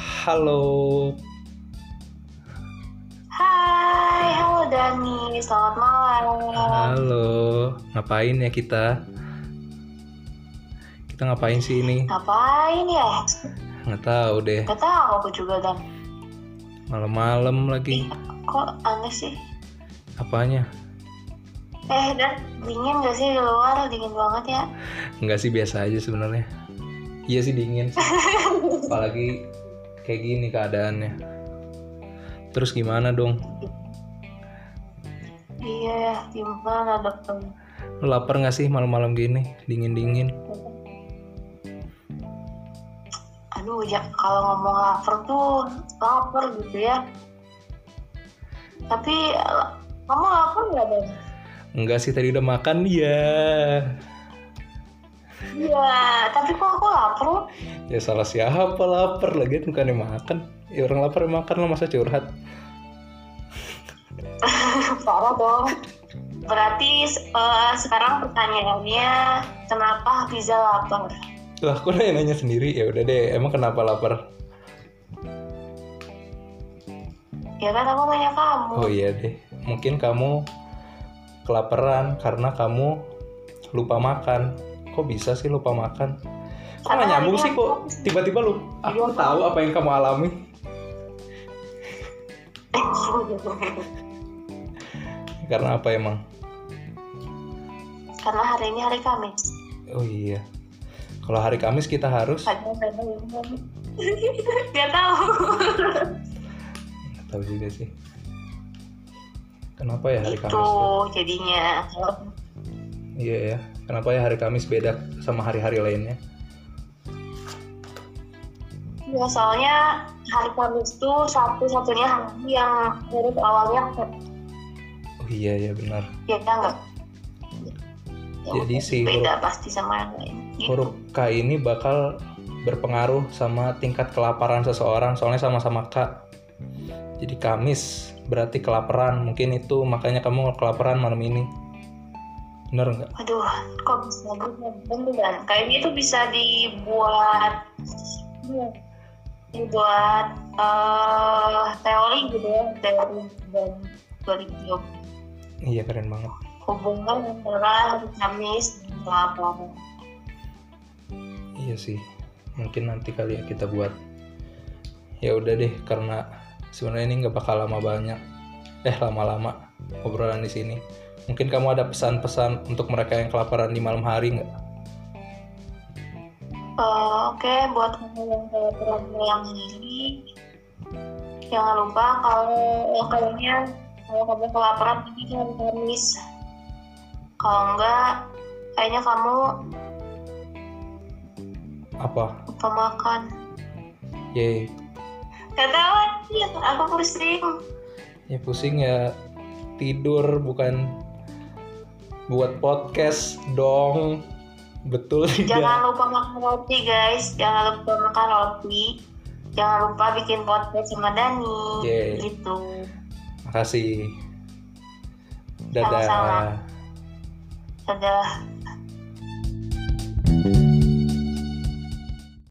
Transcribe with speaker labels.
Speaker 1: Halo.
Speaker 2: Hai, halo Dani, selamat malam.
Speaker 1: Halo. Ngapain ya kita? Kita ngapain sih ini?
Speaker 2: Ngapain ya?
Speaker 1: Nggak tahu deh.
Speaker 2: Gak tahu aku juga dan
Speaker 1: Malam-malam lagi.
Speaker 2: kok aneh sih.
Speaker 1: Apanya?
Speaker 2: Eh dan dingin gak sih di luar? Dingin banget ya.
Speaker 1: Nggak sih biasa aja sebenarnya. Iya sih dingin. sih. Apalagi kayak gini keadaannya. Terus gimana dong?
Speaker 2: Iya ya, gimana dong?
Speaker 1: Lu lapar nggak sih malam-malam gini? Dingin-dingin.
Speaker 2: Aduh, ya, kalau ngomong lapar tuh lapar gitu ya. Tapi eh, kamu lapar nggak dan?
Speaker 1: Enggak sih tadi udah makan ya.
Speaker 2: Iya, tapi kok aku lapar?
Speaker 1: Ya salah siapa lapar lagi bukan yang makan. Ya orang lapar yang makan lah masa curhat.
Speaker 2: Parah dong. Berarti eh, sekarang pertanyaannya kenapa Hafiza lapar?
Speaker 1: Lah aku nanya, nanya sendiri ya udah deh emang kenapa lapar?
Speaker 2: Ya kan aku nanya kamu.
Speaker 1: Oh iya deh mungkin kamu kelaparan karena kamu lupa makan. Kok bisa sih lupa makan? Kok nggak nyambung sih kok tiba-tiba lu aku tahu apa yang kamu alami. iya. Karena apa emang?
Speaker 2: Karena hari ini hari Kamis.
Speaker 1: Oh iya. Kalau hari Kamis kita harus
Speaker 2: Padahal saya belum tahu. Dia tahu.
Speaker 1: Nggak tahu juga sih. Kenapa ya hari Kamis?
Speaker 2: Itu
Speaker 1: tuh?
Speaker 2: Gitu jadinya.
Speaker 1: Iya ya. Kenapa ya hari Kamis beda sama hari-hari lainnya?
Speaker 2: Ya, soalnya hari Kamis itu satu-satunya hari yang dari awalnya
Speaker 1: Oh iya ya benar.
Speaker 2: ya enggak.
Speaker 1: Jadi si
Speaker 2: beda pasti sama yang lain. Gitu.
Speaker 1: Huruf K ini bakal berpengaruh sama tingkat kelaparan seseorang soalnya sama-sama K. Jadi Kamis berarti kelaparan. Mungkin itu makanya kamu kelaparan malam ini. Bener nggak?
Speaker 2: Aduh, kok bisa gitu? Beneran. Kayaknya itu bisa dibuat dibuat eh, teori gitu ya, teori dan teori bio-
Speaker 1: Iya keren banget.
Speaker 2: hubungan antara hari Kamis dan Rabu.
Speaker 1: Iya sih. Mungkin nanti kali ya kita buat. Ya udah deh karena sebenarnya ini nggak bakal lama banyak. Eh lama-lama obrolan di sini. Mungkin kamu ada pesan-pesan untuk mereka yang kelaparan di malam hari nggak?
Speaker 2: Eh, Oke, buat kamu yang kayak program ini, jangan lupa kalau lokalnya kalau kamu kelaparan pergi ke hari Kamis. Kalau enggak, kayaknya kamu
Speaker 1: Apa?
Speaker 2: lupa makan.
Speaker 1: Yeay,
Speaker 2: Gak tahu aja, aku pusing.
Speaker 1: ya pusing ya tidur bukan buat podcast dong. Betul tidak?
Speaker 2: Jangan lupa makan roti guys, jangan lupa makan roti. Jangan lupa bikin podcast sama Dani,
Speaker 1: Yeay.
Speaker 2: gitu.
Speaker 1: Makasih. Dadah.
Speaker 2: Sama-sama. Dadah.